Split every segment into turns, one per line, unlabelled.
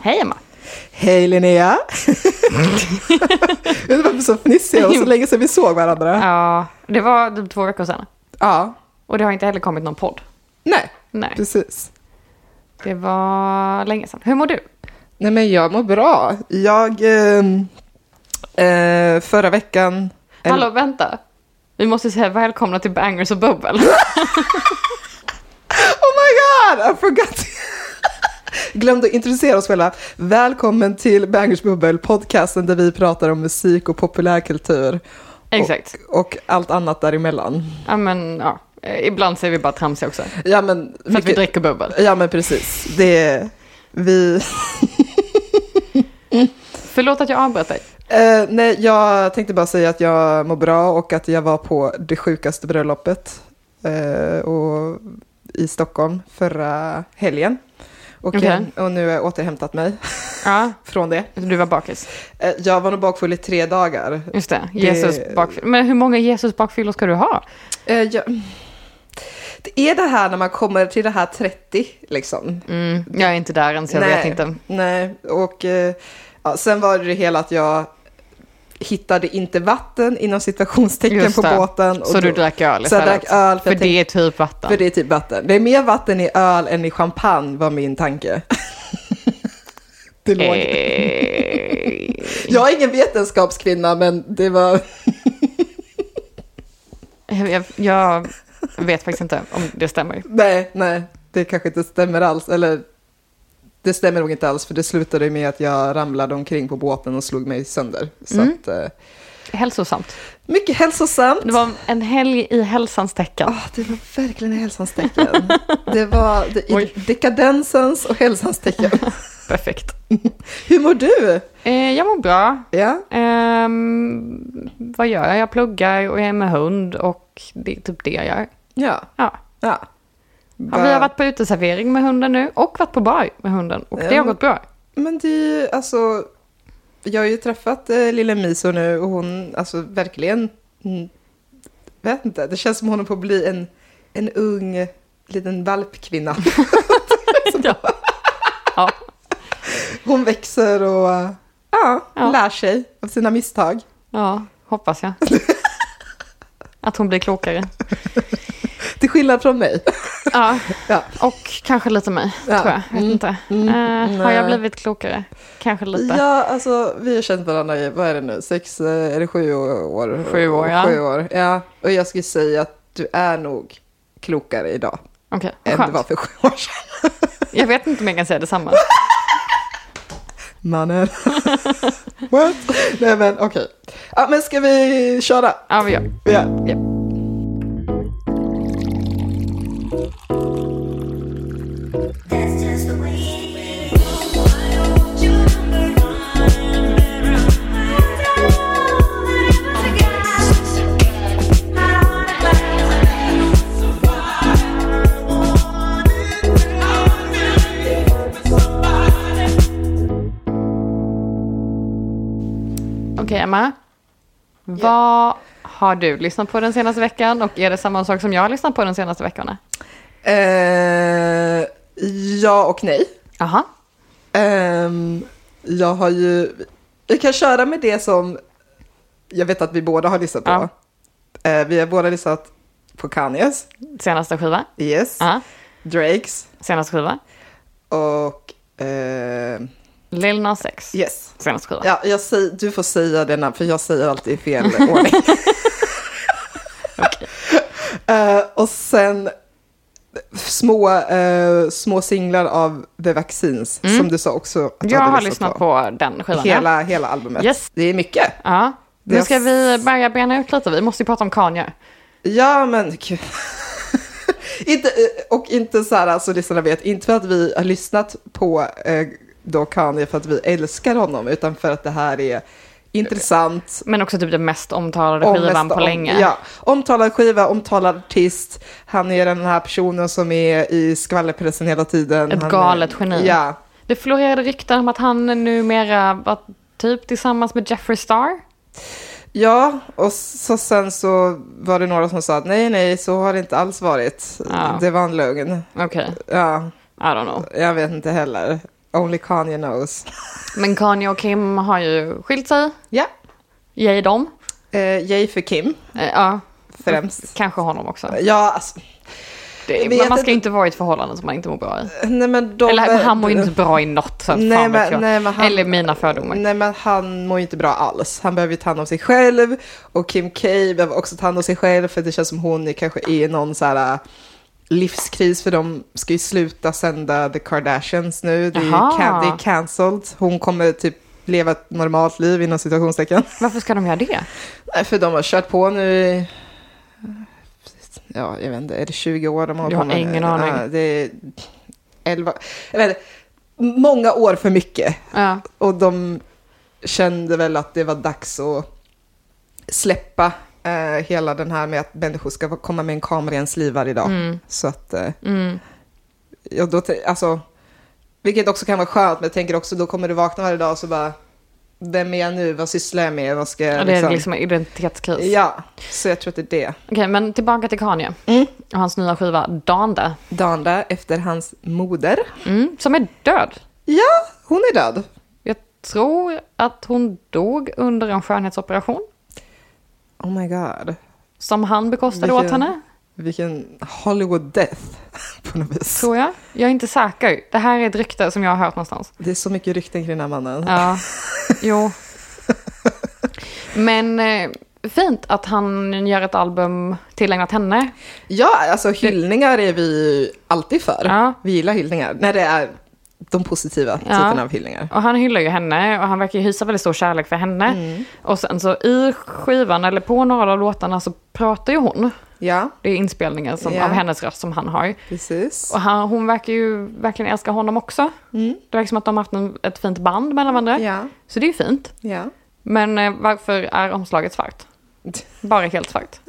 Hej Emma!
Hej Linnea! Vi var så fnissiga och så länge sedan vi såg varandra.
Ja, det var typ två veckor sedan.
Ja,
Och det har inte heller kommit någon podd.
nej,
Nej,
precis.
det var länge sedan. Hur mår du?
Nej men jag mår bra. Jag, ehm, eh, förra veckan... eller-
Hallå, vänta. Vi måste säga välkomna till Bangers och Bubbel.
Oh my god, I forgot! Glömde att introducera oss själva. Välkommen till Bangers Bubbel, podcasten där vi pratar om musik och populärkultur.
Exakt.
Och, och allt annat däremellan.
Ja, men ja. Eh, Ibland säger vi bara tramsiga också. För
Ja men,
att vi dricker bubbel.
ja, men precis. Det är... Vi...
Förlåt att jag avbröt dig.
Eh, nej, jag tänkte bara säga att jag mår bra och att jag var på det sjukaste bröllopet eh, och, i Stockholm förra helgen. Och,
Okej.
och nu har jag återhämtat mig
Ja,
från det.
du var bakis.
Eh, jag var nog bakfull i tre dagar.
Just det, Jesus bakfyll. Men hur många Jesus bakfyllor ska du ha?
Eh, jag... Det är det här när man kommer till det här 30 liksom.
Mm, jag är inte där än så jag vet inte.
Nej, och eh, ja, sen var det det hela att jag hittade inte vatten inom situationstecken
Just
på
det.
båten. Och
Så du
då-
drack öl
Så jag
istället?
drack öl för,
För
jag
det
tänkte,
är typ vatten.
för det är typ vatten. Det är mer vatten i öl än i champagne var min tanke. det låg.
Eh,
Jag är ingen vetenskapskvinna men det var...
jag, jag, jag vet faktiskt inte om det stämmer.
Nej, nej. Det kanske inte stämmer alls. Eller det stämmer nog inte alls för det slutade med att jag ramlade omkring på båten och slog mig sönder. Så
Mm.
att, eh,
Hälsosamt.
mycket hälsosamt.
Det var en helg i hälsans tecken.
Ah, det var verkligen i hälsans tecken. Det var det, i
Oj.
dekadensens och hälsans tecken.
Perfekt.
Hur mår du?
Eh, jag mår bra.
Ja,
Ehm, vad gör jag? Jag pluggar och jag är med hund och det är typ det jag gör.
ja,
Ja.
ja.
Ja, vi har varit på uteservering med hunden nu och varit på bar med hunden och det har
Ja.
gått bra.
Men det är ju, alltså, jag har ju träffat eh, lilla Miso nu och hon, alltså verkligen, mm, vet inte, det känns som hon är på att bli en, en ung liten valpkvinna.
ja. ja.
Hon växer och eh, ja,
Ja.
lär sig av sina misstag.
Ja, hoppas jag. Att hon blir klokare.
Till skillnad från mig.
Ja,
Ja.
och kanske lite mig,
Ja.
tror jag. Vet
Mm.
inte.
Mm.
Eh, har
Nej.
jag blivit klokare? Kanske lite.
Ja, alltså vi har känt varandra i, vad är det nu, sex eh, eller sju år?
Sju år, ja.
Sju år, ja. Och jag skulle säga att du är nog klokare idag
Okej, vad
än du
skönt.
var för sju år sedan.
Jag vet inte om jag kan säga detsamma.
Mannen. What? Nej men okej. Ja men ska vi köra?
Ja, vi gör.
Ja.
Ja.
That's just the way it is. I want your number on and on. That's all that I ever forgot. I wanna blast.
Okej, Emma. Vad har du lyssnat på den senaste veckan och är det samma sak som jag har lyssnat på den senaste veckorna?
Eh, ja och nej.
Jaha.
Ehm, jag har ju, vi kan köra med det som jag vet att vi båda har lyssnat på.
Ja.
Eh, vi har båda lyssnat på Kanyes,
Senaste skiva?
yes,
Ja.
Drakes
Senaste skiva?
och eh,
Lil Nas X.
yes.
Senaste skiva.
Ja, jag säger, du får säga denna för jag säger alltid i fel ordning. Eh, och sen små, eh, små singlar av The Vaccines som du sa också att du
Mm. Jag
hade
har lyssnat på den skivan. ja.
Hela, hela albumet.
Yes.
Det är mycket.
Ja.
Det
Nu
har-
ska vi börja bena ut lite. Vi måste ju prata om Kanye.
Ja, men gud. inte, eh, och inte så här, alltså lyssnarna vet, inte för att vi har lyssnat på eh, då Kanye för att vi älskar honom, utan för att det här är intressant.
Men också typ den mest omtalade
om-
skivan
mest
på
om-
länge.
Ja, omtalad skiva, omtalad artist. Han är den här personen som är i skvallerpressen hela tiden.
Ett
han,
galet geni.
Ja,
Det florerade rykten om att han numera var typ tillsammans med Jeffree Star.
Ja, och så sen så var det några som sa att nej, nej, så har det inte alls varit.
Ja.
Det var en lögn.
Okej,
Ja,
I don't know.
jag vet inte heller. Only Kanye knows.
Men Kanye och Kim har ju skilt sig.
Ja.
Yay dem.
Eh, yay för Kim,
Eh, ja,
främst.
kanske honom också.
Ja, alltså,
Det,
Jag vet
men man ska
inte.
ju inte vara i ett förhållande som man inte mår bra i.
nej men de...
Eller men han mår ju inte bra i något. Så att
Nej,
fan vet
men-
jag.
nej, men han-
Eller mina fördomar.
Nej men han mår ju inte bra alls. Han behöver ju ta hand om sig själv och Kim K behöver också ta hand om sig själv för det känns som hon är kanske i någon så här äh, livskris för de ska ju sluta sända The Kardashians nu. Det är, ju
Jaha.
can- det är cancelled. Hon kommer typ leva ett normalt liv inom situationstecken.
Varför ska de göra det?
Nej, för de har kört på nu i, ja jag vet inte, är det 20 år de har
Jag
på
har
med?
ingen
Ja,
aning.
det är 11, jag vet inte, många år för mycket.
Ja.
Och de kände väl att det var dags att släppa eh, hela den här med att människor ska få komma med en kamera i ens liv varje dag. Så att, eh,
Mm.
ja, då, te- alltså, vilket också kan vara skönt, men jag tänker också då kommer du vakna varje dag och så bara, vem är jag nu, vad sysslar jag med, vad ska jag
Och det är liksom en identitetskris.
Ja, så jag tror att det är det.
Okej, men tillbaka till Kanye
Mm.
och hans nya skiva Donda.
Dagen där, efter hans moder.
Mm, som är död.
Ja, hon är död.
Jag tror att hon dog under en skönhetsoperation
Oh my god.
som han bekostade
Vilken-
åt henne,
Vilken Hollywood death på något vis.
tror jag. Jag är inte säker. Det här är ett rykte som jag har hört någonstans.
Det är så mycket rykten kring den här mannen.
Ja, jo. Men eh, fint att han gör ett album tillägnat henne.
Ja, alltså hyllningar är vi ju alltid för.
Ja.
Vi gillar hyllningar. När det är de positiva typerna av hyllningar.
Och han hyllar ju henne och han verkar ju hysa väldigt stor kärlek för henne. Och sen så i skivan, eller på några av låtarna, så pratar ju hon.
Ja,
Det är inspelningen som,
Ja.
av hennes röst som han har.
precis. Mm,
Och han, hon verkar ju verkligen älska honom också. Det verkar som att de har haft en, ett fint band mellan varandra.
Ja,
Så det är ju fint.
ja.
Men eh, varför är omslaget svart? Bara helt svart.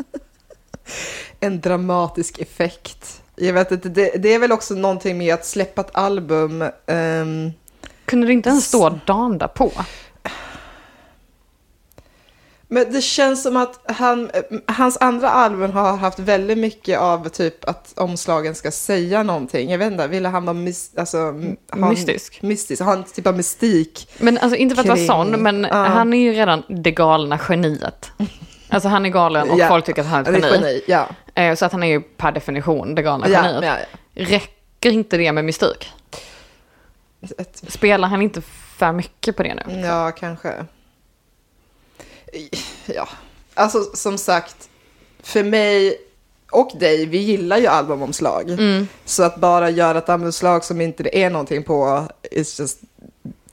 En dramatisk effekt. Jag vet inte, det, det är väl också någonting med att släppa ett album. ehm,
Kunde det inte ens stå Danda på?
Men det känns som att han, eh, hans andra album har haft väldigt mycket av typ att omslagen ska säga någonting. Jag vet inte, ville han vara mys, alltså, m- ha en-
Mystisk.
mystisk? Ha en typ av mystik?
Men alltså inte för att vara
Kring-
sån, men eh,
Ja.
han är ju redan det galna geniet. Alltså han är galen och
Ja.
folk tycker att han är
Eller
ett geni.
Ja.
Eh, Så att han är ju per definition det galna
Ja,
geniet.
ja,
Räcker inte det med mystik?
Ett-
Spelar han inte för mycket på det nu?
ja, kanske. Ja, alltså som sagt, för mig och dig, vi gillar ju albumomslag.
Mm.
Så att bara göra ett albumomslag som inte det är någonting på, it's just,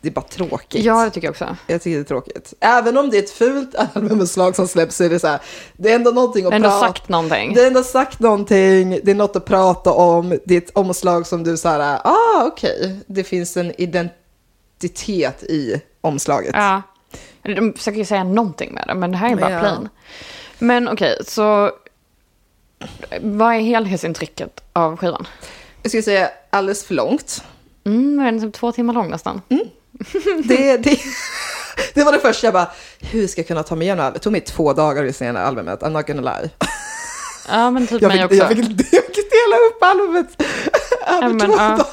det är bara tråkigt.
Ja, det tycker jag också.
Jag tycker det är tråkigt. Även om det är ett fult albumomslag som släpps så är det så här, det är ändå någonting att
Ändå
prata
sagt någonting.
Det är ändå sagt någonting, det är något att prata om, det är ett omslag som du så här, ah okej, det finns en identitet i omslaget.
Ja. De försöker ju säga någonting med det, men det här är bara
Ja.
plain. Men okej, så vad är helhetsintrycket av skivan?
Jag skulle säga alldeles för långt.
Mm, den är typ två timmar lång nästan.
Mm. Det, det, det var det första jag bara, hur ska jag kunna ta mig igenom det här? Det tog mig två dagar att lyssna igenom albumet, I'm not gonna lie.
Ja, men typ
Jag
mig
fick,
också.
jag fick, jag fick dela upp albumet över
Ja, men,
två
ja.
dagar.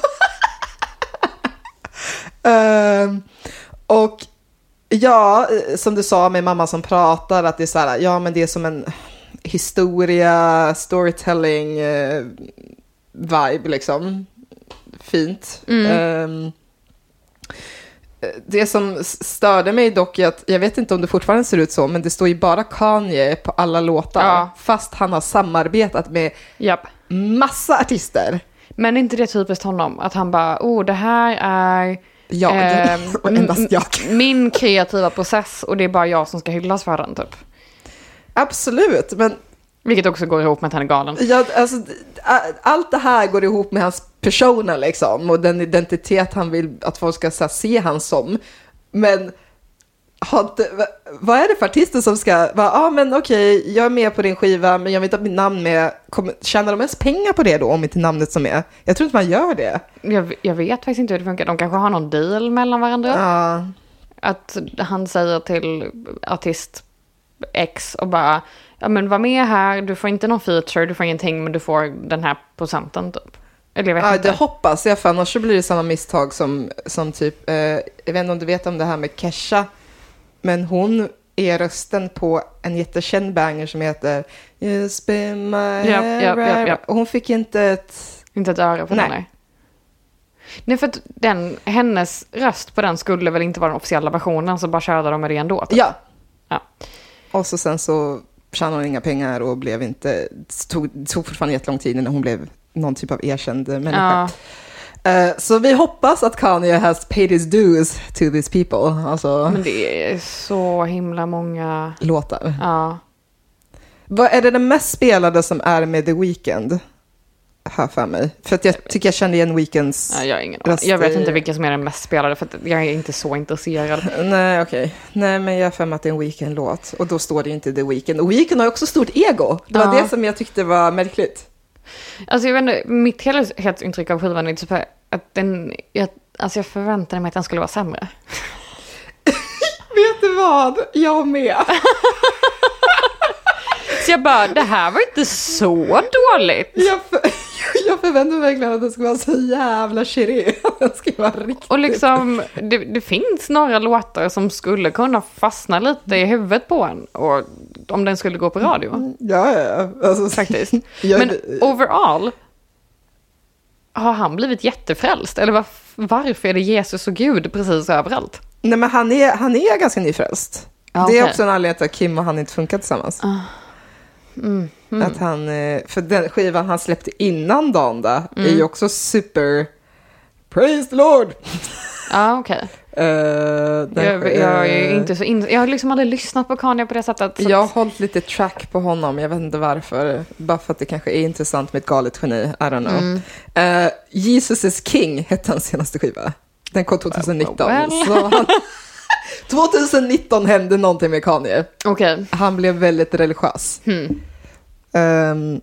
Ehm, och ja, eh, som du sa med mamma som pratar, att det är så här, ja men det är som en historia, storytelling eh, vibe liksom. Fint. Ehm, eh, det som s- störde mig dock är att, jag vet inte om det fortfarande ser ut så, men det står ju bara Kanye på alla låtar.
Ja.
Fast han har samarbetat med
Japp.
massa artister.
Men är inte det typiskt honom? Att han bara, oh, det här är...
Jag,
ehm,
och endast jag.
Min kreativa process och det är bara jag som ska hyllas för den, typ.
Absolut, men
Vilket också går ihop med att han är galen.
jag, alltså, a- allt det här går ihop med hans persona liksom och den identitet han vill att folk ska så här, se han som. Men har inte, va- vad är det för artister som ska, va, ja ah, men okej, jag är med på din skiva men jag vill inte ha mitt namn med, Kommer, tjänar de ens pengar på det då om inte namnet som är? Jag tror inte man gör det.
Jag, jag vet faktiskt inte hur det funkar. De kanske har någon deal mellan varandra.
Ja.
Att han säger till artist X och bara, ja men var med här, du får inte någon feature, du får ingenting, men du får den här procenten typ. Eller jag vet
Ja,
inte.
det hoppas jag, för annars så blir det samma misstag som, som typ, eh, jag vet inte om du vet om det här med Kesha, men hon är rösten på en jättekänd banger som heter You spin my
ja, ja,
ride-"
ja.
Och hon fick inte ett...
Inte ett öre på
Nej.
den nej. Nej för att den, hennes röst på den skulle väl inte vara den officiella versionen så bara körde de med det ändå. typ.
Ja.
Ja.
Och så sen så tjänade hon inga pengar och blev inte, det tog, det tog fortfarande jättelång tid innan hon blev någon typ av erkänd eh, människa.
Ja.
Eh, så vi hoppas att Kanye has paid his dues to these people, alltså
Men det är så himla många...
låtar.
Ja.
Vad är det den mest spelade som är med The Weeknd? Här för mig. För att jag tycker jag kände igen Weeknds...
ja, jag har ingen
Röst
aning. Jag vet
i-
inte vilken som är den mest spelade för att jag är inte så intresserad.
Nej, okej. Nej, men jag har för mig att det är en Weeknd-låt. Och då står det ju inte The Weeknd. Och Weeknd har ju också stort ego. Det var
Ja.
det som jag tyckte var märkligt.
Alltså jag vet inte, mitt helhetsintryck av skivan är typ att den... Jag, alltså jag förväntade mig att den skulle vara sämre.
Vet du vad? Jag med.
Så jag bara, det här var inte så dåligt.
Jag, för... jag förväntade mig verkligen att det skulle vara så jävla chiré. Det skulle vara riktigt...
Och liksom, det, det finns några låtar som skulle kunna fastna lite i huvudet på en. Och om den skulle gå på radio.
Ja, ja, ja. Alltså,
Faktiskt.
Jag...
Men overall, har han blivit jättefrälst? Eller varf- varför är det Jesus och Gud precis överallt?
Nej, men han är, han är ganska nyfrälst.
Ja,
Det är
okej. Ah.
också en anledning till att Kim och han inte funkar tillsammans.
Mm,
Att han, eh, för den skivan han släppte innan Donda är
Mm.
ju också super... Praise the Lord!
Ja, okej.
Eh, den-
Jag, jag är
eh,
inte så in... Jag har liksom aldrig lyssnat på Kanye på det sättet. så att-
Jag har hållit lite track på honom, jag vet inte varför. Bara för att det kanske är intressant med ett galet geni, I don't know.
Mm.
Eh, Jesus is King hette hans senaste skiva. Den kom 2019.
Well, well.
Så han, 2019 hände någonting med Kanye.
Okej.
Han blev väldigt religiös. Ehm,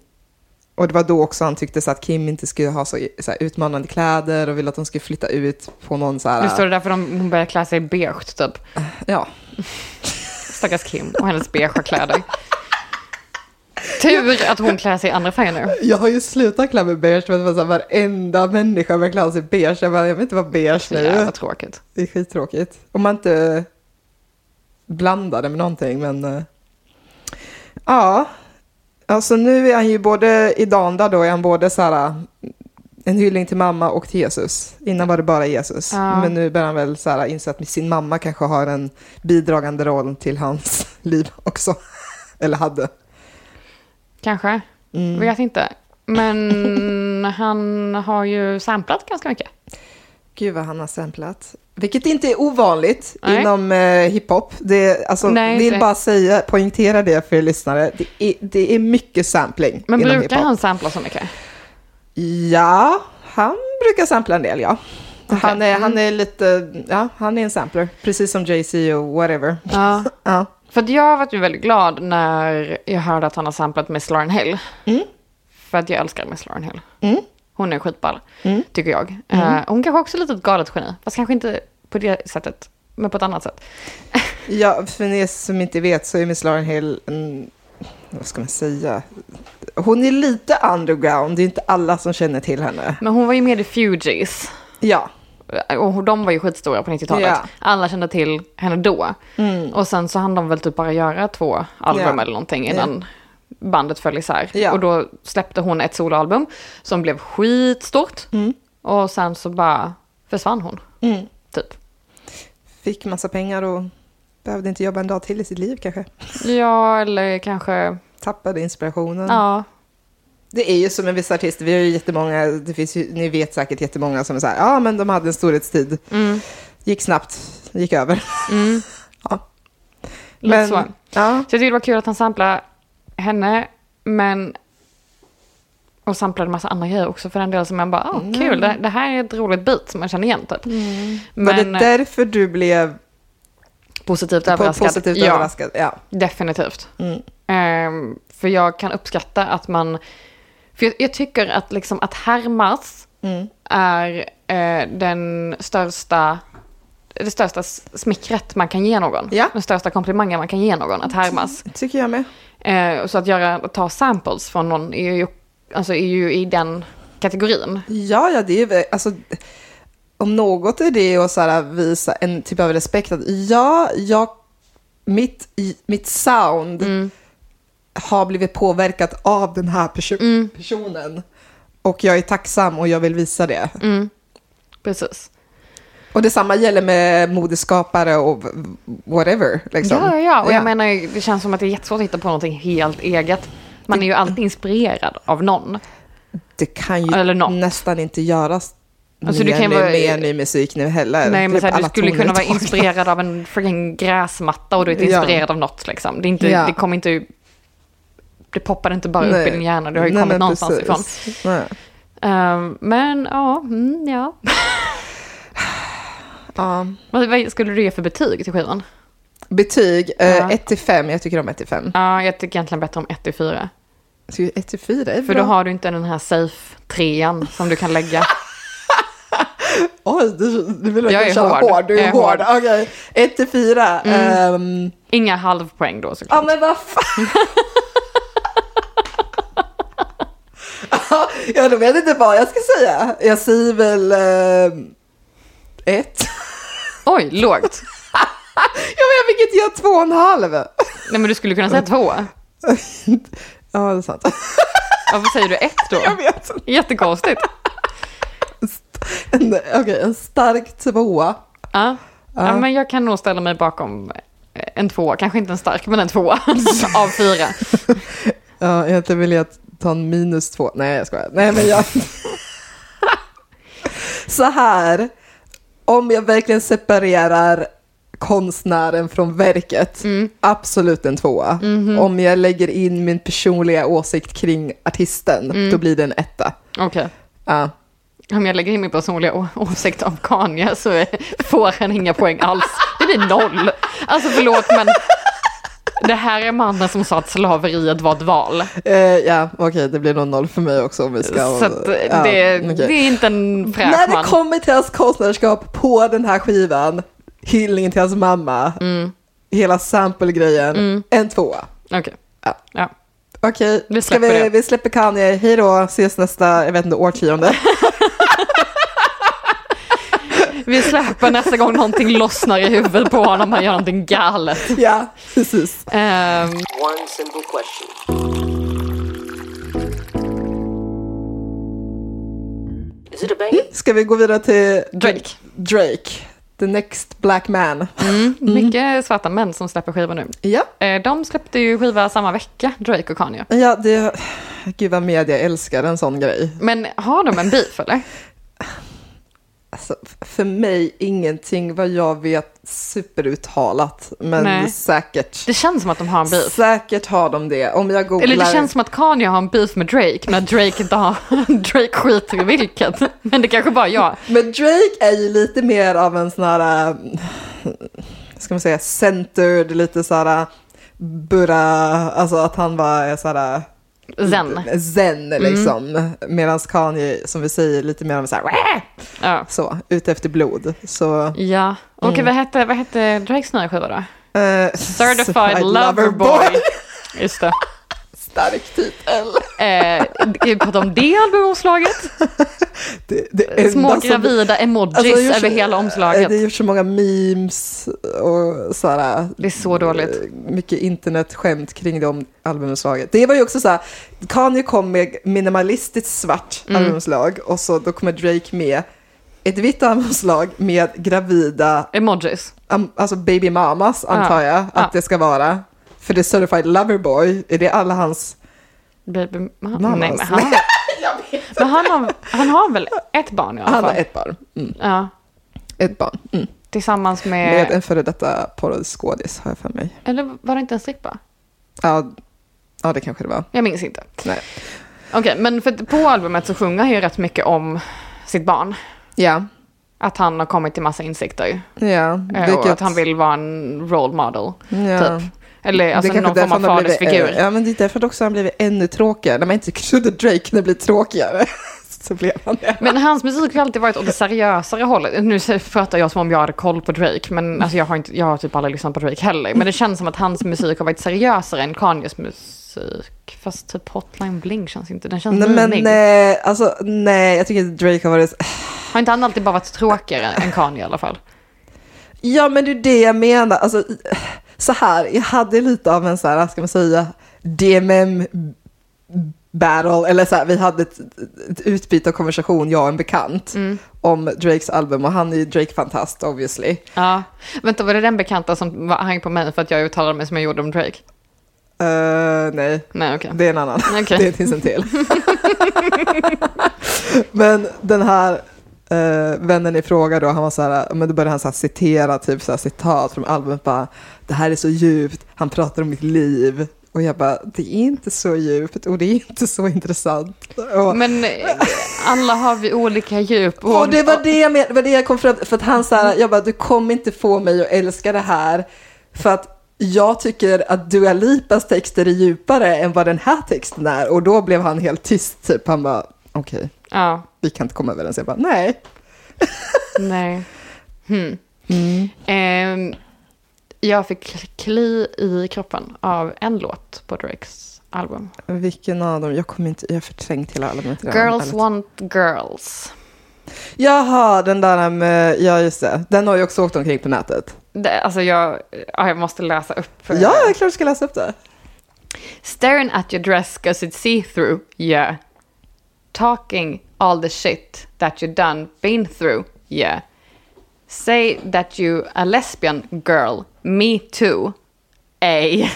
och det var då också han tyckte så att Kim inte skulle ha så, så här, utmanande kläder och ville att de skulle flytta ut på någon så
Nu står
här...
det därför de, hon börjar klä sig i beige typ.
Ja.
Stackars Kim och hennes beigea kläder. Tur att hon klär sig i andra färger nu.
Jag har ju slutat klä mig beige, men det var så här, varenda människa börjar klä sig beige. Jag bara, jag vill inte vara beige
Så jävla
nu.
tråkigt.
Det är skittråkigt. Om man inte blandar det med någonting, men... eh, Ja. Alltså nu är han ju både i Danda då, är han både så här eh, en hyllning till mamma och till Jesus. Innan var det bara Jesus.
Ja.
Men nu börjar han väl så här inse att sin mamma kanske har en bidragande roll till hans liv också. Eller hade.
Kanske.
Mm.
Vet inte. Men han har ju samplat ganska mycket.
Gud vad han har samplat. Vilket inte är ovanligt
Nej.
inom eh, hiphop. Det, alltså,
Nej,
vill
inte.
bara säga, poängtera det för er lyssnare. Det är, det är mycket sampling
Men
inom
brukar
hiphop.
han sampla så mycket?
Ja, han brukar sampla en del, ja.
Okej. Mm.
Han, är, han är lite, ja, han är en sampler. Precis som Jay-Z och whatever.
Ja.
Ja.
För att jag var ju väldigt glad när jag hörde att han har samplat Miss Lauren Hill.
Mm.
För att jag älskar Miss Lauren Hill.
Mm.
Hon är skitball,
Mm.
tycker jag. Eh, hon kanske också är lite ett galet geni. Fast kanske inte på det sättet, men på ett annat sätt.
Ja, för ni som inte vet så är Miss Lauren Hill en, vad ska man säga? Hon är lite underground, det är inte alla som känner till henne.
Men hon var ju med i Fugees.
Ja.
Och de var ju skitstora på 90-talet.
Ja.
Alla kände till henne då.
Mm.
Och sen så hann de väl typ bara göra två album
Ja.
eller någonting innan bandet föll isär.
Ja.
Och då släppte hon ett soloalbum som blev skitstort. Och sen så bara försvann hon.
Mm.
Typ.
Fick massa pengar och behövde inte jobba en dag till i sitt liv kanske.
Ja, eller kanske...
Mm. Tappade inspirationen.
Ja.
Det är ju som med vissa artister, vi har ju jättemånga, det finns ju, ni vet säkert jättemånga som är så här, ja men de hade en storhetstid,
Mm.
gick snabbt, gick över.
Mm.
Ja.
Lite
Men-
så.
Ja,
Så jag tyckte det var kul att han samplade henne, men... Och samplade massa andra grejer också för den delen. som man bara, ah, kul, det, det här är ett roligt bit som man känner igen typ.
Mm. var
Men
det därför du blev
eh, positivt
po-
överraskad.
positivt
ja,
överraskad? Ja.
definitivt.
Mm.
Ehm, för jag kan uppskatta att man... För jag, jag tycker att liksom att härmas
Mm.
är eh, den största det största s- smickret man kan ge någon.
Ja.
Den största komplimangen man kan ge någon, att härmas.
Tycker jag med.
Eh, så att göra, att ta samples från någon är ju, alltså är ju i den kategorin.
Ja, ja, det är väl, alltså, om något är det att så här, visa en typ av respekt att ja, jag, mitt, i- mitt sound
Mm.
har blivit påverkat av den här perso-
Mm.
personen. Och jag är tacksam och jag vill visa det.
Mm. Precis.
Och detsamma gäller med modeskapare och v- whatever. Liksom.
Ja, ja, och jag
Ja.
menar ju, det känns som att det är jättesvårt att hitta på någonting helt eget. Man är ju alltid inspirerad av någon.
Det kan ju
Eller något.
nästan inte göras
Alltså, du
mer,
kan
nu,
vara-
mer ny musik nu heller.
Nej, men
Typ
så här, du
alla
skulle
toner
kunna vara
är tagna.
inspirerad av en freaking gräsmatta och du är inte
Ja.
inspirerad av något liksom. Det, är inte,
Ja.
det kommer inte... Det poppar inte bara upp
Nej.
i din hjärna, det har ju
Nej,
kommit
men
någonstans
precis.
ifrån.
Nej.
Ehm, men ja, mm, ja.
Ja.
Vad, vad skulle du ge för betyg till skivan?
Betyg,
Ja.
1 till 5. Jag tycker om 1 till 5.
Ja, jag tycker egentligen bättre om 1 till 4.
1 till 4 är
För
bra.
då har du inte den här safe trean som du kan lägga.
Oj, du, du vill
Jag
verkligen
är
köra
hård.
hård. Du
Jag
är
är
hård. Mm. Okej, 1 till 4. Ja,
Inga halvpoäng då såklart.
men vad fan. ja, då vet jag inte vad jag ska säga. Jag säger väl... ehm, ett.
Oj, lågt.
ja, men jag fick inte göra två och en halv.
Nej men du skulle kunna säga två.
ja, det är sant.
Varför säger du ett då?
jag vet inte.
Jättekonstigt.
En- Okej, en stark tvåa.
Ja. Ja, men jag kan nog ställa mig bakom eh, en tvåa, kanske inte en stark men en tvåa av fyra.
Ja, egentligen vill jag ta en minus två. Nej, jag skojar. Nej, men jag... Så här, om jag verkligen separerar konstnären från verket,
Mm.
absolut en tvåa.
Mhm.
Om jag lägger in min personliga åsikt kring artisten,
Mm.
då blir det en etta.
Okej.
Ja.
Om jag lägger in min personliga å- åsikt om Kanye så eh, får han inga poäng alls. Det blir noll. Alltså förlåt men det här är mannen som sa att slaveriet var ett val.
Eh, ja, okej, det blir nog noll för mig också om vi ska...
Så att det,
ja, okej.
det är inte en fräsch
När
man.
det kommer till hans konstnärskap på den här skivan, hyllningen till hans mamma,
Mm.
hela sample-grejen, en tvåa.
Okej.
Ja.
Ja.
Okej,
Mm. Vi
ska
släpper
vi,
det.
vi släpper Kanye. Hej då, ses nästa, jag vet inte, årtionde.
Vi släpper nästa gång någonting lossnar i huvudet på honom, han gör någonting galet.
ja, precis.
Ehm,
One simple question. Is it a banger?
Ska vi gå vidare till
Drake.
Drake, the next black man.
Mm, Mycket svarta män som släpper skivor nu.
Ja.
Eh, De släppte ju skiva samma vecka, Drake och Kanye.
ja, det... Gud vad media älskar en sån grej.
Men har de en beef eller?
Alltså, f- för mig ingenting vad jag vet superuttalat, men
Nej.
säkert.
Det känns som att de har en beef.
Säkert har de det. Om jag googlar...
Eller det känns som att Kanye har en beef med Drake, men att Drake inte har... Drake skiter i vilket. Men det kanske bara är jag.
Men Drake är ju lite mer av en sån här, äh, ska man säga, centered, lite så här äh, burra, alltså att han var är så här
Zen. Mm.
äh, zen liksom. Medan Kanye, som vi säger, lite mer av så här, "Wah!"
Ja.
så, ute efter blod. Så,
Ja. Okej, vad, hette, vad hette Drakes nya skiva då?
eh,
Certified Lover Boy. Just det.
Stark titel.
Eh, vi pratar om det albumomslaget.
Det, det enda
Små
som-
gravida emojis
det görs-
över hela
eh,
omslaget.
Det görs så många memes och så här,
Det är så dåligt.
eh, mycket internetskämt kring det om albumomslaget. Det var ju också så här, Kanye kom med minimalistiskt svart
Mm.
albumomslag och så då kommer Drake med ett vitt albumomslag med gravida,
Emojis.
am- alltså baby mamas antar jag att
ja.
det ska vara. För det är certified lover boy, är det alla hans...
Baby ma-
Mammas.
Nej, men han, har- men han, har, han har väl ett barn i alla
Han har
fall?
ett barn. Mm,
Ja,
ett barn. Mm.
tillsammans med...
Med en före detta porrskådis har jag för mig.
Eller var det inte en strippa?
Ja, ja, det kanske det var.
Jag minns inte.
Nej.
Okej, men för att på albumet så sjunger han ju rätt mycket om sitt barn.
Ja,
Att han har kommit till massa insikter. ju.
ja.
Eh, Och att han vill vara en role model,
Ja.
typ. Eller alltså
kanske
någon form av
därför han har blivit-
fadersfigur.
eh, Ja, men det är därför också han blivit ännu tråkigare. När man inte trodde Drake kunde bli tråkigare så blev han det.
Men hans musik har alltid varit åt det seriösare hållet. Nu så pratar jag som om jag hade koll på Drake, men alltså jag, har inte, jag har typ aldrig lyssnat på Drake heller. Men det känns som att hans musik har varit seriösare än Kanyes musik. musik. Fast typ Hotline Bling känns inte, den känns
Nej, men
mimig.
nej, alltså nej, jag tycker inte Drake har varit...
Har inte han alltid bara varit tråkigare än Kanye i alla fall?
Ja, men det är det jag menar. Alltså, så här, jag hade lite av en så här, ska man säga, DMM battle, eller så här, vi hade ett, ett utbyte av konversation, jag och en bekant,
Mm.
om Drakes album och han är ju Drake-fantast obviously.
Ja. Vänta, var det den bekanta som var- hang på mig för att jag uttalade mig som jag gjorde om Drake?
Eh, nej,
Nej, okej.
det är en annan.
Okej.
Det finns en till. men den här eh, vännen i fråga då, han var så här, men då började han så här citera typ så här citat från albumet bara, det här är så djupt, han pratar om mitt liv. Och jag bara, det är inte så djupt och det är inte så intressant. Och,
Men eh, alla har vi olika djup. Och,
och det var det, jag men, det var det jag kom fram till, för att han så här, jag bara, du kommer inte få mig att älska det här, för att jag tycker att Dua Lipas texter är djupare än vad den här texten är. Och då blev han helt tyst, typ. Han bara, okej,
Ja,
vi kan inte komma överens. Jag bara, nej.
nej. Hmm.
Mm.
Ehm, jag fick kl- kli i kroppen av en låt på Drakes album.
Vilken av dem? Jag kommer inte, jag har förträngt hela albumet. redan,
Girls
ärligt.
want girls.
Jaha, den där med, ja just det. Den har ju också åkt omkring på nätet.
Det, alltså jag, ja, jag måste läsa upp.
Ja, det är klart du ska läsa upp det.
Staring at your dress cause it's see-through, yeah. Talking all the shit that you done been through, yeah. Say that you a lesbian girl, me too, a.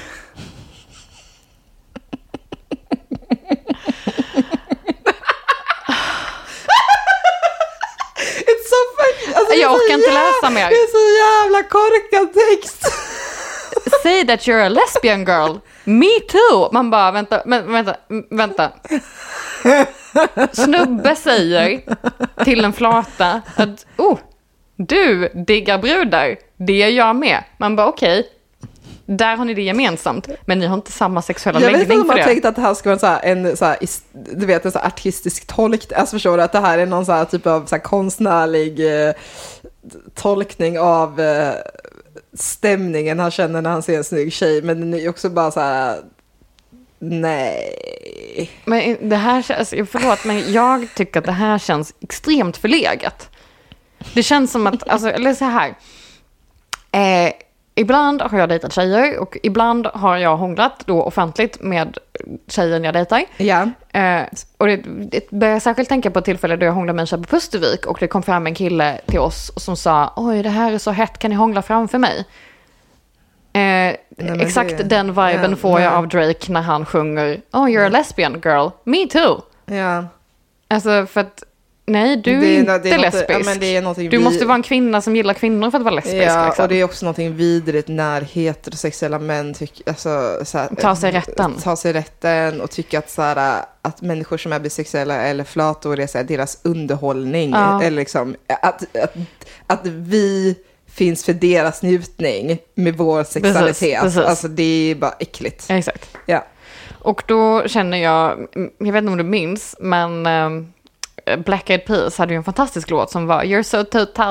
It's so fucking... Alltså,
Jag
det är så
orkar inte
jävla-
läsa mer.
Det är så jävla korkad text.
Say that you're a lesbian girl, me too. Man bara vänta, men, vänta, m- vänta. Snubbe säger till en flata att oh, du diggar brudar, det gör jag med. Man bara okej, där har ni det gemensamt, men ni har inte samma sexuella
Jag vet inte
läggning för
om man
det.
tänkt att det här ska vara en, så här, en, så här, is- du vet, en så här artistisk tolk. Alltså förstår du att det här är någon så här typ av så här konstnärlig eh, tolkning av eh, stämningen han känner när han ser en snygg tjej. Men den är ju också bara så här, nej.
Men det här känns, förlåt, men jag tycker att det här känns extremt förlegat. Det känns som att, alltså, eller så här. Eh, ibland har jag dejtat tjejer och ibland har jag hånglat då offentligt med tjejen jag dejtar.
Ja.
Eh, och det, det börjar jag särskilt tänka på ett tillfälle då jag hånglade med en tjej på Pustervik och det kom fram en kille till oss som sa oj det här är så hett, kan ni hångla framför mig? Eh,
men
exakt
det-
den viben
ja,
får jag
nej.
av Drake när han sjunger oh you're a lesbian girl, me too.
ja.
Alltså för att nej du är,
Det är-
inte
det är något-
lesbisk.
ja, men det är någonting
du
vi-
måste vara en kvinna som gillar kvinnor för att vara lesbisk.
Ja,
liksom.
och det är också någonting vidrigt när heterosexuella män tycker, alltså, så här,
Ta sig rätten.
ta sig rätten och tycka att, så här, eh, att människor som är bisexuella eller flator är så här, deras underhållning.
Ja.
Eller liksom, att, att, att vi finns för deras njutning med vår sexualitet.
precis.
Alltså det är bara äckligt.
Ja, exakt.
Ja.
Och då känner jag, jag vet inte om du minns, men ehm, Black Eyed Peas hade ju en fantastisk låt som var You're so 2008,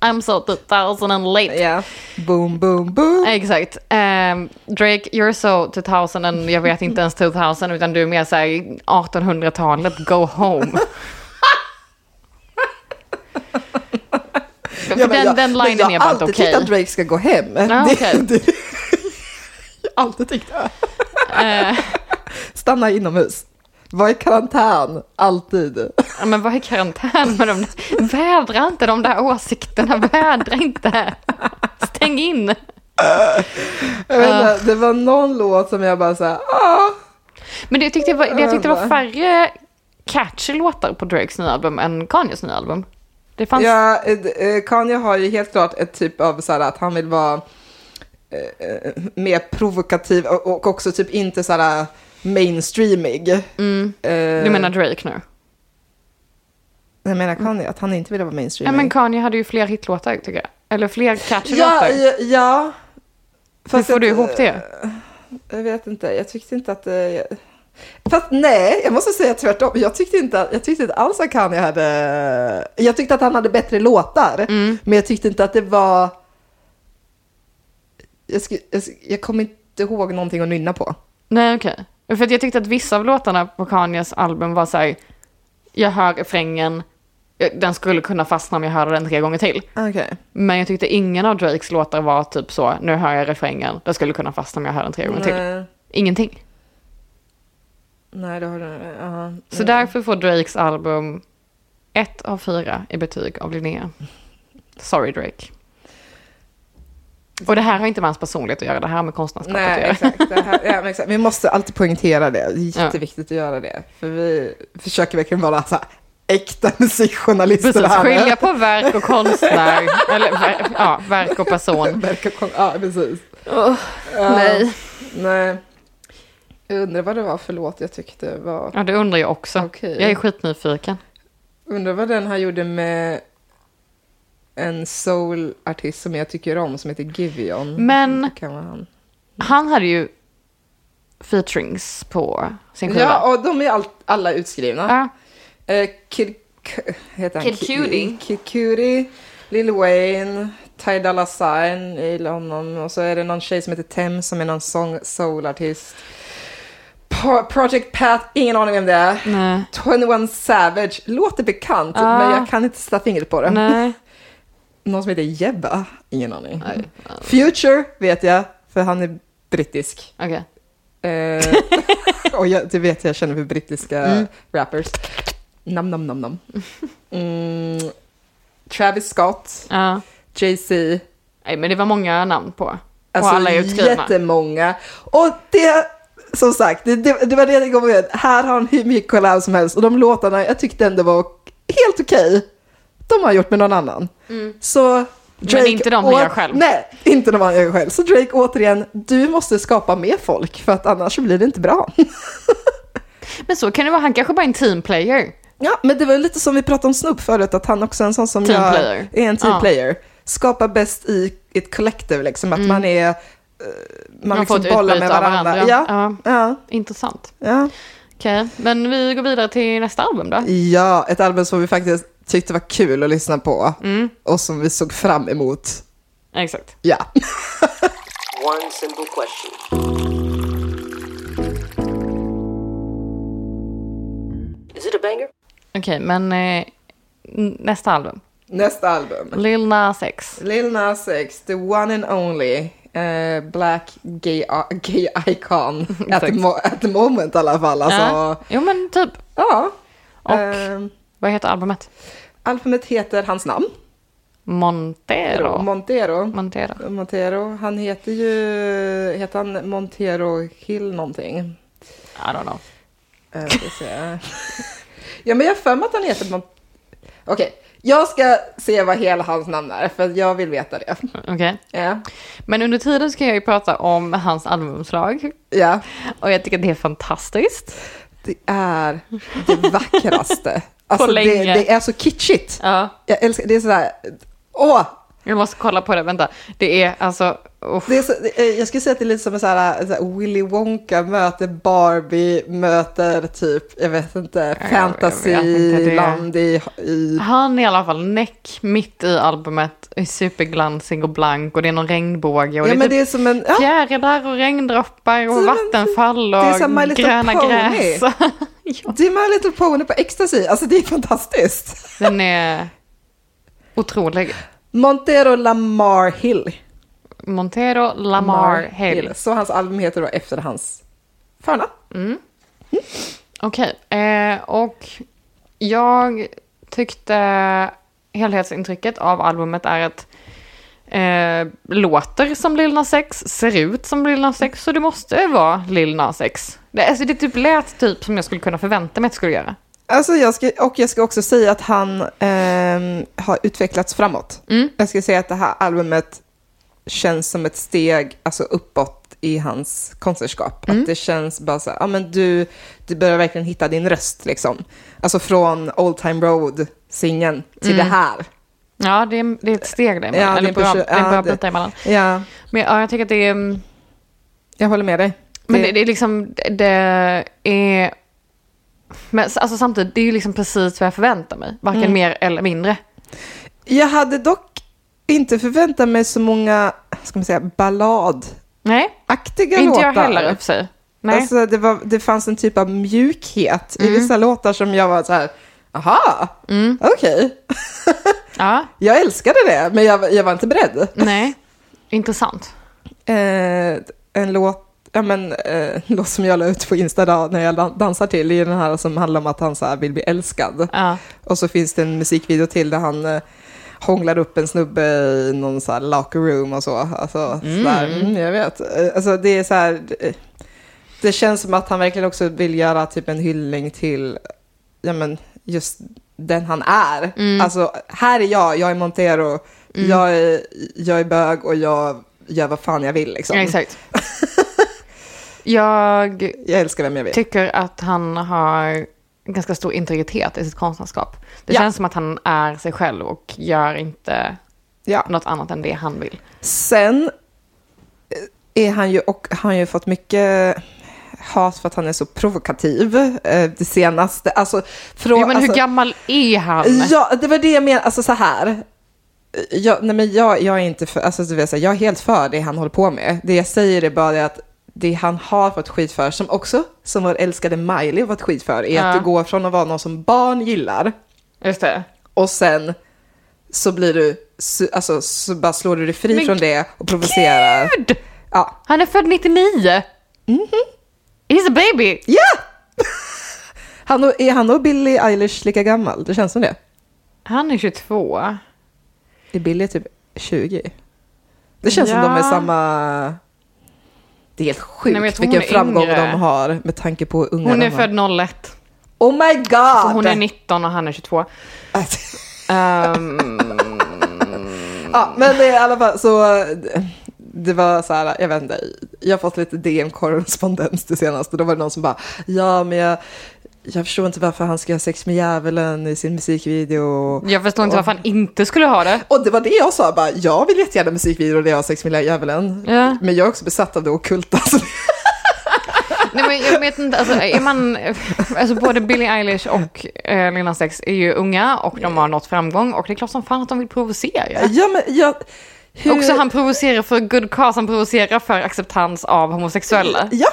I'm so 2008.
ja. Boom, boom, boom.
Exakt. Ehm, Drake, you're so 2000, and jag vet inte ens 2000, utan du är mer såhär 1800-talet, go home. För
Ja, men
den,
jag-
den
men
linen är
Jag har
bara inte
alltid
okej.
tyckt att Drake ska gå hem. Det-
okej.
det- jag har alltid tyckt det.
Eh,
Stanna inomhus. Var i karantän, alltid.
Ja, men vad är karantän med dem? Vädra inte de där åsikterna, vädra inte. Stäng in.
Jag vet inte, det var någon låt som jag bara såhär, ah.
Men det jag tyckte var, det jag tyckte var färre catchy låtar på Drakes nya album än Kanyes nya album. Det fanns...
Ja, eh, eh, Kanye har ju helt klart ett typ av såhär att han vill vara eh, eh, mer provokativ och och också typ inte såhär mainstreamig. Eh,
Mm, du menar Drake nu?
Jag menar Kanye, att han inte vill vara
Ja,
mainstreamig.
men Kanye hade ju fler hitlåtar tycker jag. Eller fler catchy
ja,
låtar.
ja, ja.
Hur
Fast eh,
får du
jag-
ihop det?
Jag vet inte, jag tyckte inte att det... Fast nej, jag måste säga tvärtom. Jag tyckte inte, att- jag tyckte inte alls att Kanye hade... Jag tyckte att han hade bättre låtar,
Mm.
men jag tyckte inte att det var... Jag, sku, jag, sku, jag kommer inte ihåg någonting att nynna på.
Nej, okej. För att jag tyckte att vissa av låtarna på Kanyes album var så här, jag hör refrängen, jag- den skulle kunna fastna om jag hörde den tre gånger till.
Okej.
Men jag tyckte ingen av Drakes låtar var typ så, nu hör jag refrängen, den skulle kunna fastna om jag hör den tre gånger till.
Nej,
Ingenting.
nej, det har du. ja.
Så därför får Drakes album ett av fyra i betyg av Linnea. Sorry Drake. Och det här har inte med hans personlighet att göra, det här har med konstnärskapet att
Nej,
göra.
exakt. Det här, ja, men exakt. Vi måste alltid poängtera det. Det är jätteviktigt att göra det. För vi försöker verkligen vara så här, äkta musikjournalister
Precis,
här nu.
skilja på verk och konstnär. eller ver- ja, verk och person.
Verkar kon- Ja, precis. Ja,
Nej.
Nej. Jag undrar vad det var för låt jag tyckte var...
Ja, det undrar jag också.
Okej.
Jag är skitnyfiken.
Undrar vad den här gjorde med en soulartist som jag tycker om som heter Givion.
Men-
Det Kan vara han.
Han hade ju featurings på sin skiva.
Ja, och de är all, alla utskrivna.
Ja.
Eh, Kid, K- heter han?
Kid Cudi.
Kid Cudi, Lil Wayne, Ty Dolla Sign, jag gillar honom. Och så är det någon tjej som heter Tem som är någon sång soulartist. Pa- Project Path, ingen aning vem det är.
Nej.
21 Savage, låter bekant
Ah.
men jag kan inte sätta fingret på det.
Nej.
Någon som heter Jebba, ingen aning. Future vet jag, för han är brittisk.
Okej.
Eh, och jag, det vet jag, jag känner för brittiska rappers. Nam, nam, nam, nam. Mm, Travis Scott,
Ja.
Jay-Z.
Nej, men det var många namn på.
Alltså
och alla är utskrivna.
jättemånga. Och det, som sagt, det, det, det var det jag kom ihåg. Här har han hur mycket collab som helst. Och de låtarna, jag tyckte ändå var helt okej. De har gjort med någon annan. Så Drake
Mm. inte de han
åt-
gör själv.
Nej, inte de han gör själv. Så Drake, återigen, du måste skapa mer folk. För att annars så blir det inte bra.
Men så kan det vara. Han kanske bara är en teamplayer.
Ja, men det var lite som vi pratade om Snoop förut, att han också är en sån som
Team
jag
player.
är en
Ja.
team player. Skapar bäst i ett kollektiv, liksom att man är... eh, Man,
Mm. Man får
liksom
ett
bollar med
utbyte av
varandra.
varandra.
Ja, ja.
Intressant.
Ja.
Okej, men vi går vidare till nästa album då.
ja, ett album som vi faktiskt tyckte var kul att lyssna på
Mm.
och som vi såg fram emot.
Exakt.
Ja.
One simple question. Is it a banger?
Okej, men eh, n- nästa album.
Nästa album.
Lil Nas X.
Lil Nas X, the one and only eh, black gay, gay icon. at, the
Exakt.
mo- at the moment i alla fall. Alltså,
Ja. Jo, men typ.
ja.
Och?
Ehm,
Vad heter albumet?
Albumet heter hans namn.
Montero.
Montero.
Montero.
Montero. Han heter ju... Heter han Montero Hill någonting?
I don't know.
Eh, ska se. ja, men jag har för mig att han heter... Mont- Okej, jag ska se vad hela hans namn är, för jag vill veta det.
Okej.
Ja.
Men under tiden ska jag ju prata om hans albumslag.
ja.
Och jag tycker det är fantastiskt.
Det är det vackraste. Alltså, det,
länge.
det är så kitschigt.
Ja.
Jag älskar, det är sådär... Åh!
Jag måste kolla på det, vänta. Det är alltså... uff.
Det är så, det är- jag skulle säga att det är lite som en så här, så här Willy Wonka möter Barbie, möter typ, jag vet inte,
jag- jag vet inte det.
fantasyland i, i...
Han är i alla fall näck mitt i albumet, är superglansig och blank och det är någon regnbåge och
Ja
det är
men det
typ
är som en... Ja,
fjärilar och regndroppar och
Så-
vattenfall och
det är som My Little
gröna
Pony.
gräs. ja.
det är My Little Pony på ecstasy, alltså det är fantastiskt.
Den är otrolig.
Montero Lamar Hill.
Montero Lamar Hill.
Så hans album heter då efter hans förnamn.
Okej, eh, och jag tyckte helhetsintrycket av albumet är att eh, låter som Lil Nas X, ser ut som Lil Nas X, så det måste vara Lil Nas X. Det, alltså, det typ lät typ som jag skulle kunna förvänta mig att det skulle göra.
Alltså jag ska, och jag ska också säga att han ehm, har utvecklats framåt.
Mm.
Jag ska säga att det här albumet känns som ett steg alltså uppåt i hans konstnärskap.
Mm.
Att det känns bara så här, ja men du, du börjar verkligen hitta din röst liksom. Alltså från Old Time Road-singeln till
Mm.
det här.
Ja, det är, det är ett steg där
Ja,
emellan. Eller
det
en bra,
pushar-
det är en
ja,
bra
det-
bit emellan.
Ja,
Men ja, jag tycker att det är... mm,
jag håller med dig.
Men det, det är liksom, det är... Men alltså samtidigt, det är ju liksom precis vad jag förväntar mig. Varken mer eller mindre.
Jag hade dock inte förväntat mig så många, ska man säga, balladaktiga
Nej,
låtar.
inte jag heller i och för sig. Nej. Mm.
Alltså, det, var, det fanns en typ av mjukhet i vissa låtar som jag var så här, aha, okej.
Ja,
Jag älskade det, men jag, jag var inte beredd.
nej. Intressant.
Eh, en låt, ja men eh, en låt som jag la ut på Insta idag när jag dan- dansar till, det är den här som handlar om att han så här vill bli älskad.
Ja.
Och så finns det en musikvideo till där han eh, hånglar upp en snubbe i någon så här locker room och så. Alltså, så där, mm, jag vet. Eh, Alltså det är så här, eh, det känns som att han verkligen också vill göra typ en hyllning till, ja men just den han är. Alltså här är jag, jag är Montero, jag, är, jag är bög och jag gör vad fan jag vill liksom.
Ja, exakt. Jag
Jag älskar vem jag vill.
tycker att han har ganska stor integritet i sitt konstnärskap. Det
Ja.
känns som att han är sig själv och gör inte
Ja.
något annat än det han vill.
Sen eh, är han ju, och han har ju fått mycket hat för att han är så provokativ. eh, Det senaste, alltså från...
Jo, men
alltså,
hur gammal är han?
Ja, det var det jag menade, alltså så här. Jag, nej men jag, jag är inte för, alltså du vet, så här, jag är helt för det han håller på med. Det jag säger är bara det att det han har fått skit för, som också, som vår älskade Miley har fått skit för, är
Ja.
att du går från att vara någon som barn gillar
Just det.
och sen så blir du, su- alltså så bara slår du dig fri
Men
från det och provocerar.
Gud!
Ja. Mhm.
Han är född 99! He's a baby!
Ja! Han och, är han och Billie Eilish lika gammal? Det känns som det.
Han är 22.
Är Billie typ 20? Det känns som de är
Ja.
samma... Det är helt
Nej, men jag
sjukt
tror hon
vilken
är
framgång
yngre.
de har med tanke på hur unga
Hon
de
är född 01.
Oh my
Så
god!
hon är 19 och han är 22. Ehm,
ja, men det är i alla fall så... eh, Det var så här, jag vet inte, jag har fått lite DM-korrespondens det senaste. Då var det någon som bara, ja men jag, jag förstår inte varför han ska ha sex med djävulen i sin musikvideo.
jag förstår inte varför han inte skulle ha det.
Och det var det jag sa, bara, jag vill jättegärna musikvideor där jag har sex med lilla djävulen.
Ja.
Men jag är också besatt av det alltså. ockulta. så-
Nej, men jag vet inte, alltså, är man, alltså, både Billie Eilish och eh, Lina Sex är ju unga och de har nått framgång och det är klart som fan att de vill provocera.
Ja, men jag... Hur...
Också han provocerar för good cause, han provocerar för acceptans av homosexuella.
Ja.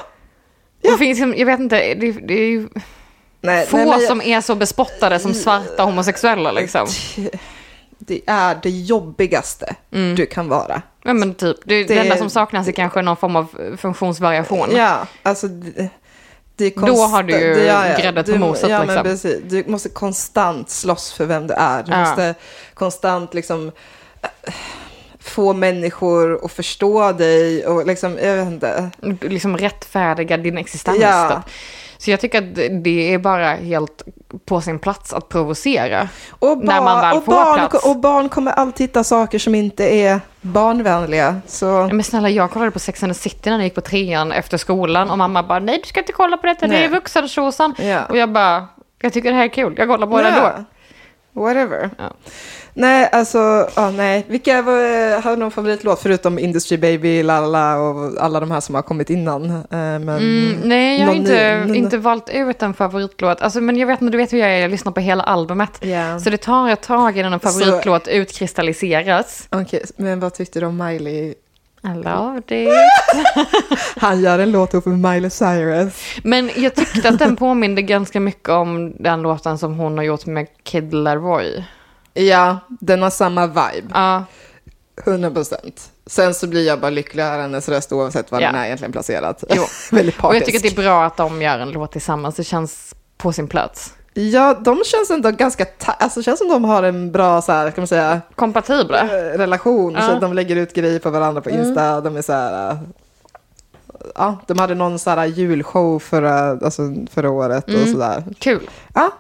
Det finns, ju- jag vet inte, det, det är ju
Nej,
få
nej, men jag-
som är så bespottade som svarta homosexuella liksom.
Det är det jobbigaste du kan vara.
Ja, men typ, det, det enda som saknas är kanske någon form av funktionsvariation.
Ja, alltså... Det, det är
Då har du ju
det-
gräddet på
du-
moset,
ja,
liksom.
Men precis. Du måste konstant slåss för vem du är. Du
Ja.
måste konstant liksom äh, få människor att förstå dig och liksom, jag vet inte.
liksom rättfärdiga din existens.
Ja.
Typ. Så jag tycker att det är bara helt på sin plats att provocera.
Och
När
ba-
man väl
och
får
barn,
plats.
Och barn kommer alltid hitta saker som inte är barnvänliga. Så
Nej, Men snälla, jag kollade på Sex and the City när jag gick på trean efter skolan och mamma bara nej du ska inte kolla på detta, det
Nej.
är vuxentjosan.
Ja.
Och jag bara, jag tycker det här är kul, jag kollar på det
Ja.
ändå.
Whatever.
Ja.
Nej, alltså, ja, nej. Vilka var, har du någon favoritlåt förutom Industry Baby, Lala och alla de här som har kommit innan? Eh, Men,
Mm, nej, jag har
Någon
inte,
ny-
inte valt ut en favoritlåt. Alltså, men jag vet, men du vet hur jag är, jag lyssnar på hela albumet.
Ja.
Så det tar ett tag innan en favoritlåt utkristalliseras.
Okej, men vad tyckte du om Miley?
I love it.
Han gör en låt ihop med Miley Cyrus.
Men jag tyckte att den påminde ganska mycket om den låten som hon har gjort med Kid Laroi.
Ja, den har samma vibe.
Ja,
100 procent. Sen så blir jag bara lycklig av hennes röst oavsett var
Ja.
den är egentligen placerad.
Jo.
Väldigt partisk.
och jag tycker att det är bra att de gör en låt tillsammans. Det känns på sin plats.
Ja, de känns ändå ganska, ta- alltså känns som de har en bra så här, kan man säga,
Kompatibla.
eh, relation. Så
Ja. Mm.
att de lägger ut grejer på varandra på Insta, de är så här, eh, ja, de hade någon så här julshow förra, alltså, förra året och sådär.
Kul.
Ja.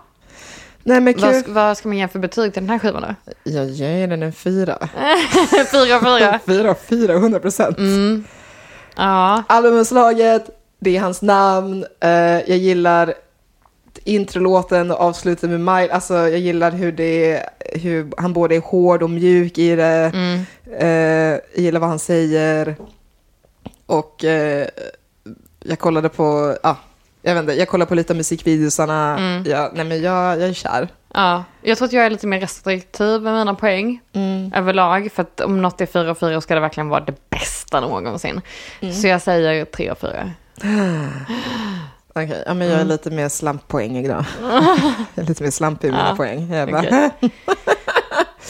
Nej men
Mm. Vad,
kul.
sk- vad ska man ge för betyg till den här skivan då?
Jag ger den en fyra.
Fyra av fyra.
Fyra av fyra, hundra procent.
Mm. Ja,
Albumomslaget, det är hans namn, eh, jag gillar introlåten och avslutet med Mile, alltså jag gillar hur det är, hur han både är hård och mjuk i det,
Mm.
eh, jag gillar vad han säger och eh, jag kollade på, ja, jag vet inte, jag kollade på lite av musikvideosarna,
Mm.
jag, nej men jag, jag är kär.
ja. Jag tror att jag är lite mer restriktiv med mina poäng överlag. För Mm. att om något är fyra av fyra ska det verkligen vara det bästa någonsin. Så jag säger tre av fyra.
Okej, ja, men jag
Mm.
är lite mer slamppoäng idag. jag är lite mer slampig i mina
Ja,
poäng. Jag bara,
okej.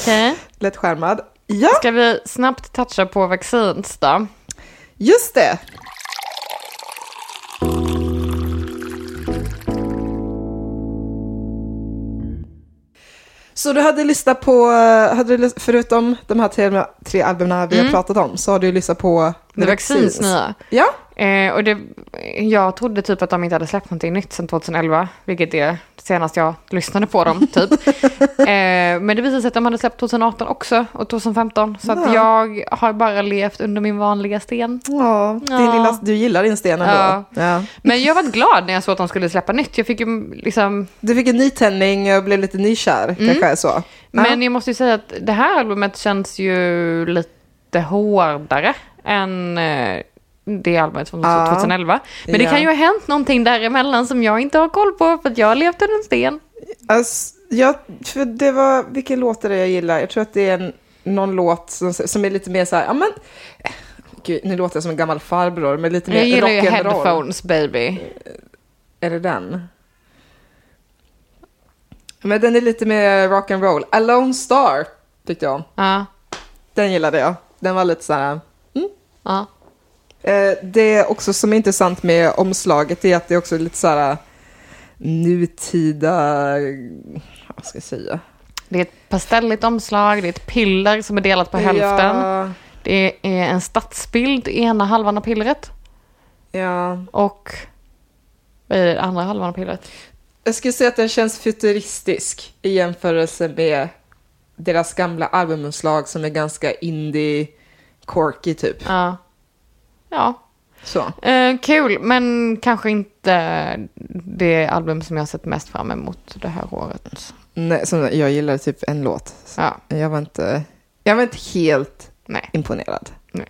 Okej.
lätt skärmad. Ja,
Ska vi snabbt toucha på vaccins då?
just det. Så du hade lyssnat på, hade du, lys- förutom de här tre, tre albumen vi har pratat om, så har du lyssnat på
Mm. Det vaccins nya.
Ja,
Eh, och det, jag trodde typ att de inte hade släppt någonting nytt sedan 2011, vilket är senast jag lyssnade på dem typ. eh, men det visade sig att de hade släppt 2018 också och 2015. Så att
Ja.
jag har bara levt under min vanliga sten.
ja, din
Ja.
Lilla, du gillar din sten ändå.
Ja.
Ja.
Men jag var glad när jag såg att de skulle släppa nytt. Jag fick ju liksom
Du fick en ny tändning och blev lite nykär, kanske så. Ja.
Mm. Men jag måste ju säga att det här albumet känns ju lite hårdare än eh, det albumet från
Ja.
2011. Men det
Ja.
kan ju ha hänt någonting däremellan som jag inte har koll på för att jag har levt under en sten.
Alltså, jag, för det var, vilken låt är det jag gillar? Jag tror att det är en, någon låt som, som är lite mer så här, ja men, eh, gud, nu låter jag som en gammal farbror, men lite
Jag
mer
gillar ju
rock'n'roll.
headphones baby.
Är det den? Men den är lite mer rock'n'roll. Alone Star tyckte jag.
Ja,
Den gillade jag. Den var lite så här,
ja.
Eh, Det också som är intressant med omslaget är att det också är lite så här nutida, vad ska jag säga?
Det är ett pastelligt omslag, det är ett piller som är delat på hälften.
Ja,
Det är en stadsbild i ena halvan av pillret
ja.
och vad är det, andra halvan av pillret?
Jag skulle säga att den känns futuristisk i jämförelse med deras gamla albumomslag som är ganska indie, quirky typ.
Ja. Ja,
Så.
Eh, kul, men kanske inte det album som jag har sett mest fram emot det här året.
Nej, som jag gillar typ en låt. Så
Ja,
Jag var inte, jag var inte helt
nej.
imponerad.
Nej.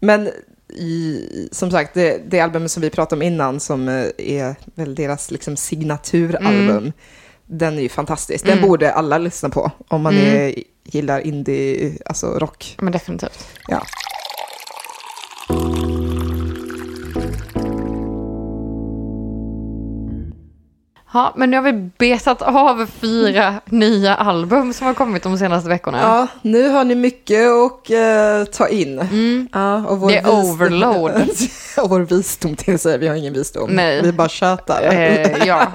Men i, som sagt, det, det album som vi pratade om innan som eh, är väl deras liksom signaturalbum,
Mm.
den är ju fantastisk. Den borde alla lyssna på om man
Mm.
är, gillar indie, alltså rock.
Men definitivt.
Ja.
Ja, men nu har vi betat av fyra nya album som har kommit de senaste veckorna.
Ja, nu har ni mycket att eh, ta in. Ja, och vår
Mm. Det är
visdom-
overload.
och vår visdom, till att säga, vi har ingen visdom.
Nej.
Vi bara tjötar.
Eh, ja.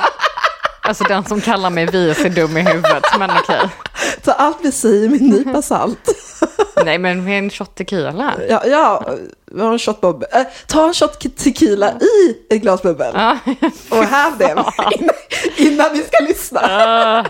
Alltså den som kallar mig vis är dum i huvudet, men okej.
Ta allt vi säger med en nypa salt.
Nej, men vi är en shot tequila.
Ja, ja vi har en shot bubbe. Eh, ta en shot ke- tequila i ett glas bubbel
Ja.
och häv det innan, innan ni ska lyssna.
Ah.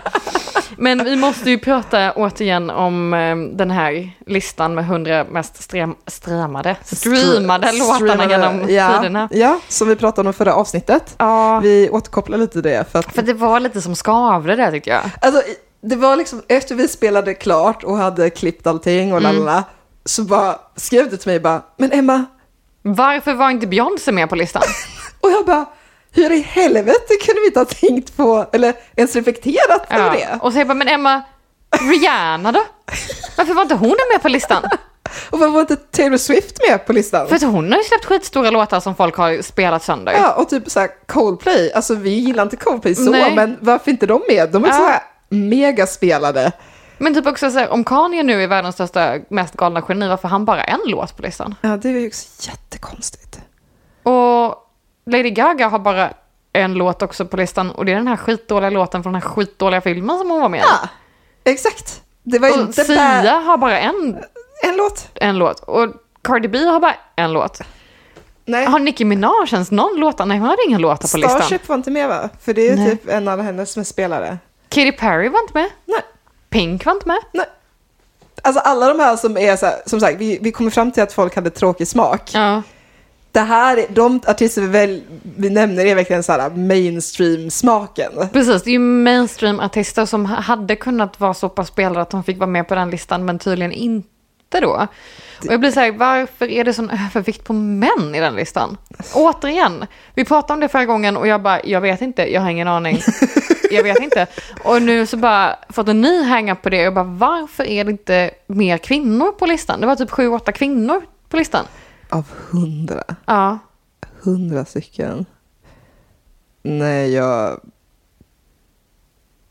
Men vi måste ju prata återigen om eh, den här listan med 100 mest strem, strämade, streamade låtarna
Streamade,
genom
ja,
tiderna.
Ja, som vi pratade om förra avsnittet.
Ja,
Vi återkopplar lite det. För att,
för det var lite som Skavre där tyckte jag.
alltså, det var liksom efter vi spelade klart och hade klippt allting
Mm.
och lalala, så bara skrev du till mig bara, men Emma,
Varför var inte Beyoncé med på listan?
och jag bara, hur i helvete kunde vi inte ha tänkt på, eller ens reflekterat över
Ja.
det?
Och så jag bara, men Emma, Rihanna då? Varför var inte hon med på listan?
Och varför var inte Taylor Swift med på listan?
För att hon har ju släppt skitstora låtar som folk har spelat sönder.
Ja, och typ så här Coldplay. Alltså vi gillar inte Coldplay så,
Nej.
men varför inte de med? De är
Ja.
så här megaspelade.
Men typ också så här, om Kanye nu är världens största, mest galna geni, varför har han bara en låt på listan?
Ja, det är ju också jättekonstigt.
Och Lady Gaga har bara en låt också på listan och det är den här skitdåliga låten från den här skitdåliga filmen som hon var med i.
Ja, exakt. Det var
och
inte
Sia
bara
har bara en,
en låt.
en låt och Cardi B har bara en låt.
Nej,
Har Nicki Minaj ens någon låt? Nej, hon hade inga låtar på listan.
Starship var inte med va? För det är
Nej.
typ en av hennes som är spelare.
Katy Perry var inte med.
Nej,
Pink var inte med.
nej. Alltså alla de här som är så här, som sagt, vi, vi kommer fram till att folk hade tråkig smak.
Ja.
Det här, är- de artister vi, väl, vi nämner är verkligen så här mainstream-smaken.
Precis, det är ju mainstream-artister som hade kunnat vara så pass spelare att de fick vara med på den listan men tydligen inte då. Och jag blir så här, varför är det sån övervikt på män i den listan? Återigen, vi pratade om det förra gången och jag bara, jag vet inte, jag har ingen aning. Jag vet inte. Och nu så bara fått en ny hänga på det och jag bara, varför är det inte mer kvinnor på listan? Det var typ sju, åtta kvinnor på listan.
Av hundra.
Ja.
hundra stycken. Nej, jag...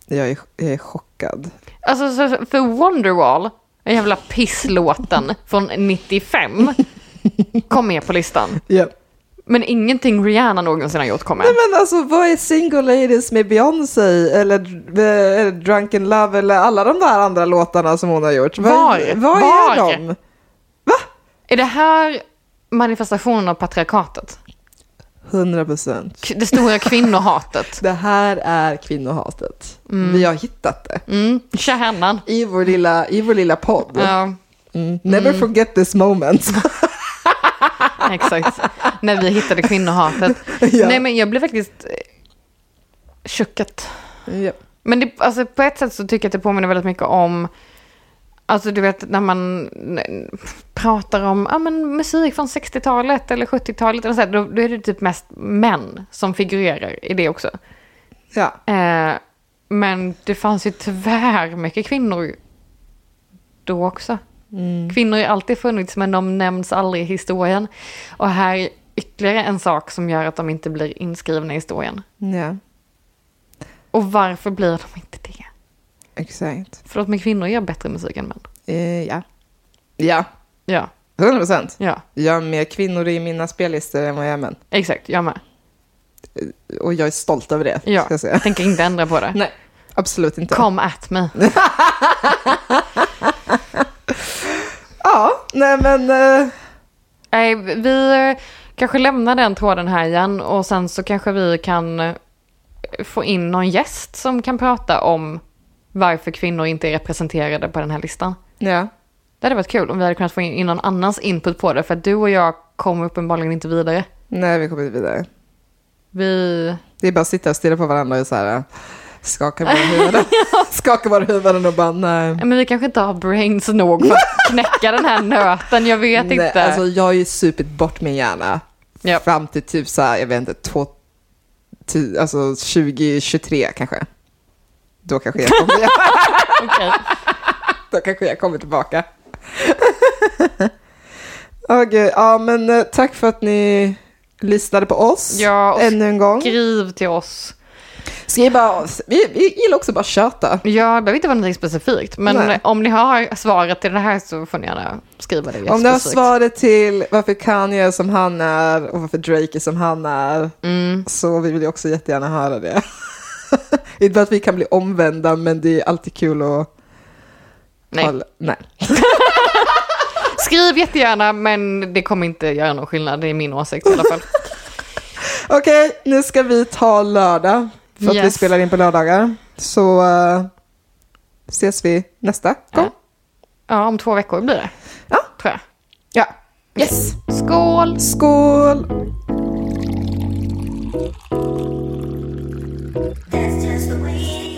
Jag är, jag är chockad.
Alltså så, så- för Wonderwall, den jävla pisslåten från 95, kom med på listan.
Ja.
Men ingenting Rihanna någonsin har gjort kom med.
Nej, men alltså, vad är Single Ladies med Beyoncé eller eh, eller Drunken Love eller alla de där andra låtarna som hon har gjort?
Var?
Vad
Var?
är de?
Är det här manifestationen av patriarkatet?
100 procent.
K- Det stora kvinnohatet?
Det här är kvinnohatet. Vi har hittat det
Mm, kärnan.
i vår lilla, i vår lilla podd.
Ja,
Mm. Never forget this moment.
exakt. När vi hittade kvinnohatet.
Ja.
Nej men jag blev faktiskt eh, chockad.
ja.
Men det, alltså, på ett sätt så tycker jag att det påminner väldigt mycket om, alltså du vet när man n- pratar om ja, men musik från 60-talet eller 70-talet, eller så här, då, då är det typ mest män som figurerar i det också.
ja.
Eh, men det fanns ju tyvärr mycket kvinnor då också. Kvinnor har alltid funnits men de nämns aldrig i historien. Och här är ytterligare en sak som gör att de inte blir inskrivna i historien.
Ja,
Och varför blir de inte det?
exakt.
För att med kvinnor gör bättre musik än män.
Eh, ja. Ja,
Ja,
100 procent.
ja,
Jag har mer kvinnor i mina spellistor än vad jag är män.
exakt. Jag med.
Och jag är stolt över det,
Ja,
ska jag säga.
jag tänker inte ändra på det.
Nej, absolut inte.
Come at me.
Ja, nej men... eh,
Nej, vi eh, kanske lämnar den tråden här igen och sen så kanske vi kan eh, få in någon gäst som kan prata om varför kvinnor inte är representerade på den här listan.
ja.
Det hade varit kul om vi hade kunnat få in någon annans input på det för att du och jag kommer uppenbarligen inte vidare.
Nej, vi kommer inte vidare.
Vi...
Det är bara att sitta och stirra på varandra och så här, eh, skaka våra huvuden. skaka våra huvuden och bara nej.
Nej, Men vi kanske inte har brains nog för att knäcka den här nöten, jag vet
nej
inte.
alltså, jag har ju supit bort min hjärna.
Ja.
Fram till typ så här, jag vet inte, två, ti, alltså 2023 kanske. Då kanske jag kommer,
Okej.
då kanske jag kommer tillbaka. Åh gud, ja men eh, tack för att ni lyssnade på oss
Ja, och
ännu en gång.
Skriv till oss.
Skriv bara, vi, vi gillar också bara köta.
Ja, det behöver inte vara någonting specifikt. Men
Nej.
om ni har svaret till det här så får ni gärna skriva det.
Om du har
specifikt.
svaret till varför Kanye är som han är och varför Drake är som han är
Mm.
så vill vi också jättegärna höra det. Inte för att vi kan bli omvända men det är alltid kul att...
Nej.
hålla- Nej.
Skriv jättegärna, men det kommer inte göra någon skillnad. Det är min åsikt i alla fall.
Okej, nu ska vi ta lördag för att vi
Yes.
spelar in på lördagar. Så eh, ses vi nästa gång.
Ja. ja, om två veckor blir det.
Ja.
Tror jag.
Ja. Yes.
Skål!
Skål!
That's just the way it is.